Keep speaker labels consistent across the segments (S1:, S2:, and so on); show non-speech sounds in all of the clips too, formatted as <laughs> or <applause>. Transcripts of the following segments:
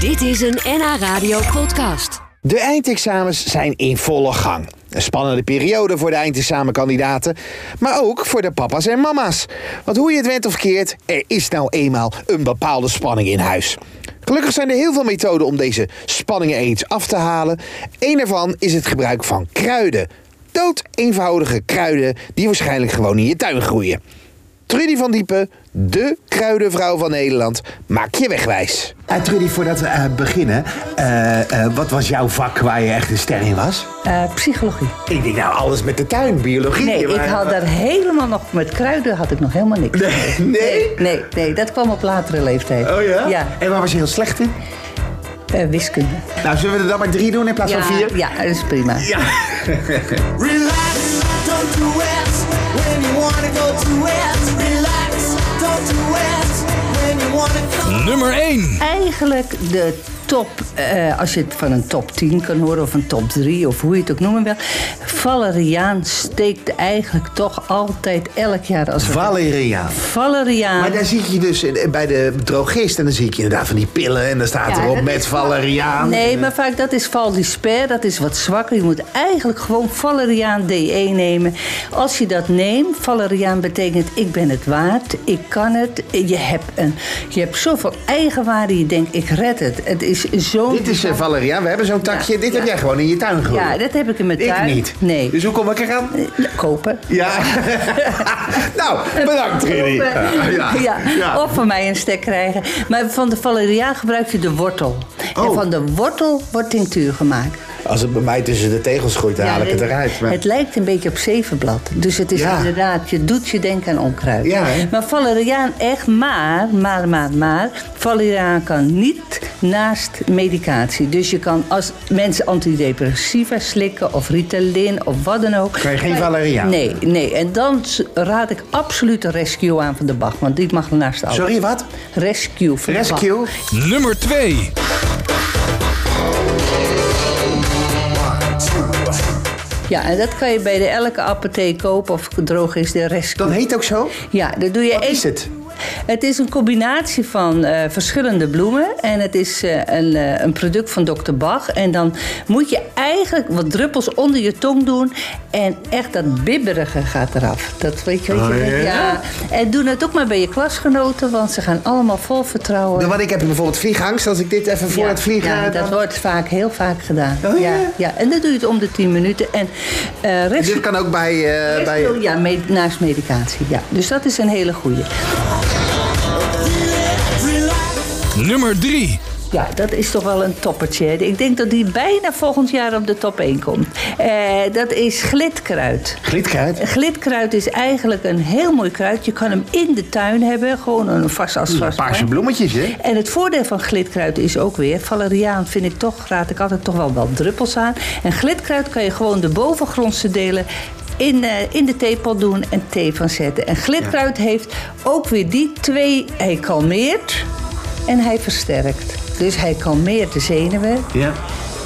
S1: Dit is een NH Radio podcast.
S2: De eindexamens zijn in volle gang. Een spannende periode voor de eindexamenkandidaten, maar ook voor de papa's en mama's. Want hoe je het went of keert, er is nou eenmaal een bepaalde spanning in huis. Gelukkig zijn er heel veel methoden om deze spanningen eens af te halen. Een daarvan is het gebruik van kruiden. Dood eenvoudige kruiden die waarschijnlijk gewoon in je tuin groeien. Trudy van Diepen, de kruidenvrouw van Nederland, maak je wegwijs.
S3: Eh, Trudy, voordat we eh, beginnen, eh, eh, wat was jouw vak waar je echt een ster in was?
S4: Eh, psychologie.
S3: Ik denk nou alles met de tuin, biologie.
S4: Nee, ik had daar helemaal nog met kruiden had ik nog helemaal niks.
S3: <laughs> Nee, nee?
S4: Nee, nee, dat kwam op latere leeftijd.
S3: Oh ja?
S4: Ja,
S3: En waar was je heel slecht in?
S4: eh, wiskunde.
S3: Nou, zullen we er dan maar drie doen in plaats
S4: ja,
S3: van vier?
S4: ja, dat is prima.
S5: Relax, don't do it when you wanna go to it. Relax, don't do it when you wanna go.
S6: Nummer 1.
S4: Eigenlijk de top, eh, als je het van een top 10 kan horen of een top 3 of hoe je het ook noemen wil. Valeriaan steekt eigenlijk toch altijd elk jaar als een
S3: Valeria.
S4: Valeriaan.
S3: Maar daar zie je dus eh, bij de drogist en dan zie ik inderdaad van die pillen en dan staat
S4: Ja,
S3: erop
S4: dat
S3: met
S4: is-
S3: Valeriaan.
S4: Nee, maar vaak dat is val Disper, dat is wat zwakker. Je moet eigenlijk gewoon Valeriaan DE nemen. Als je dat neemt, Valeriaan betekent ik ben het waard, ik kan het. Je hebt, een, je hebt zoveel eigenwaarde, je denkt ik red het. Het is zo'n...
S3: Dit is eh, Valeriaan, we hebben zo'n takje,
S4: Ja,
S3: dit heb
S4: ja.
S3: jij gewoon in je tuin gegooid.
S4: Ja, dat heb ik in mijn
S3: Ik
S4: tuin.
S3: niet.
S4: Nee.
S3: Dus hoe kom ik eraan?
S4: Eh, Kopen.
S3: Ja. <laughs> nou, bedankt Trudy.
S4: Kopen.
S3: Ja.
S4: <laughs> Ja,
S3: Ja.
S4: Of van mij een stek krijgen. Maar van de Valeriaan gebruik je de wortel. En
S3: Oh.
S4: van de wortel wordt tinctuur gemaakt.
S3: Als het bij mij tussen de tegels groeit, dan haal ik
S4: Ja,
S3: het eruit. Maar...
S4: Het lijkt een beetje op zevenblad. Dus het is
S3: Ja.
S4: inderdaad, je doet je denken aan onkruid.
S3: Ja, hè?
S4: maar valeriaan echt maar, maar, maar, maar... valeriaan kan niet naast medicatie. Dus je kan als mensen antidepressiva slikken... of Ritalin of wat dan ook.
S3: Kan je geen
S4: Maar-
S3: valeriaan?
S4: Nee, nee. En dan s- raad ik absoluut de rescue aan van de Bach. Want die mag naast alles.
S3: Sorry, wat?
S4: Rescue van de Bach.
S3: Rescue?
S6: Nummer 2.
S4: Ja, en dat kan je bij de elke apotheek kopen of drogist de rescue.
S3: Dat heet ook zo?
S4: Ja, dat doe je
S3: Wat
S4: één-
S3: is het?
S4: Het is een combinatie van eh, verschillende bloemen. En het is eh, een, eh, een product van Dr. Bach. En dan moet je eigenlijk wat druppels onder je tong doen. En echt dat bibberige gaat eraf. Dat weet je. Weet je
S3: Oh, ja?
S4: En doe het ook maar bij je klasgenoten. Want ze gaan allemaal vol vertrouwen.
S3: Nou, Want ik heb bijvoorbeeld vliegangst. Als ik dit even voor
S4: Ja,
S3: het vliegen...
S4: ja,
S3: dan-
S4: dat wordt vaak, heel vaak gedaan.
S3: Oh, ja?
S4: ja, en dan doe je het om de 10 minuten. En eh rest...
S3: <laughs> Dit kan ook bij... eh, bij...
S4: Restylane, Ja, me- naast medicatie. Ja. Dus dat is een hele goeie.
S6: Nummer 3.
S4: Ja, dat is toch wel een toppertje. hè. Ik denk dat die bijna volgend jaar op de top 1 komt. Eh, dat is glidkruid.
S3: Glitkruid?
S4: Glidkruid is eigenlijk een heel mooi kruid. Je kan hem in de tuin hebben, gewoon een vast als vast.
S3: Paarse
S4: plant.
S3: bloemetjes, hè?
S4: En het voordeel van glidkruid is ook weer... valeriaan vind ik toch, raad ik altijd toch wel wel druppels aan. En glidkruid kan je gewoon de bovengrondse delen... In, eh, in de theepot doen en thee van zetten. En glidkruid heeft ook weer die twee... Hij kalmeert en hij versterkt. Dus hij kalmeert de zenuwen...
S3: Ja.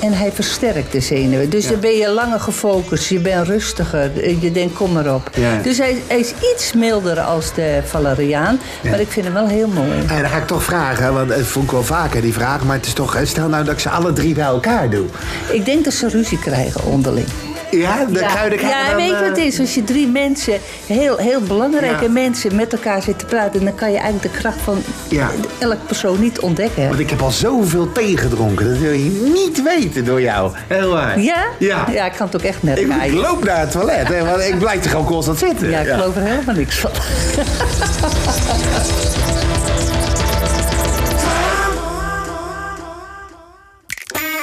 S4: En hij versterkt de zenuwen. Dus dan ben je langer gefocust, je bent rustiger, eh, je denkt kom maar op.
S3: Ja.
S4: Dus hij, hij is iets milder als de valeriaan, maar ik vind hem wel heel mooi.
S3: En Eh, dan ga ik toch vragen, want het vond ik wel vaker die vraag. Maar het is toch, eh, stel nou dat ik ze alle drie bij elkaar doe.
S4: Ik denk dat ze ruzie krijgen onderling.
S3: Ja, de kruiden krijgen
S4: ja,
S3: dan,
S4: weet je wat het
S3: eh,
S4: is? Als je drie mensen, heel, heel belangrijke
S3: Ja.
S4: mensen, met elkaar zit te praten... dan kan je eigenlijk de kracht van
S3: Ja.
S4: elk persoon niet ontdekken. hè?
S3: Want ik heb al zoveel thee gedronken. Dat wil je niet weten door jou. Heel waar.
S4: Ja?
S3: Ja.
S4: ik kan het ook echt merken.
S3: Ik, ik
S4: eigenlijk.
S3: loop naar het toilet, hè, want ik blijf er gewoon constant zitten.
S4: Ja, ik geloof er helemaal niks van.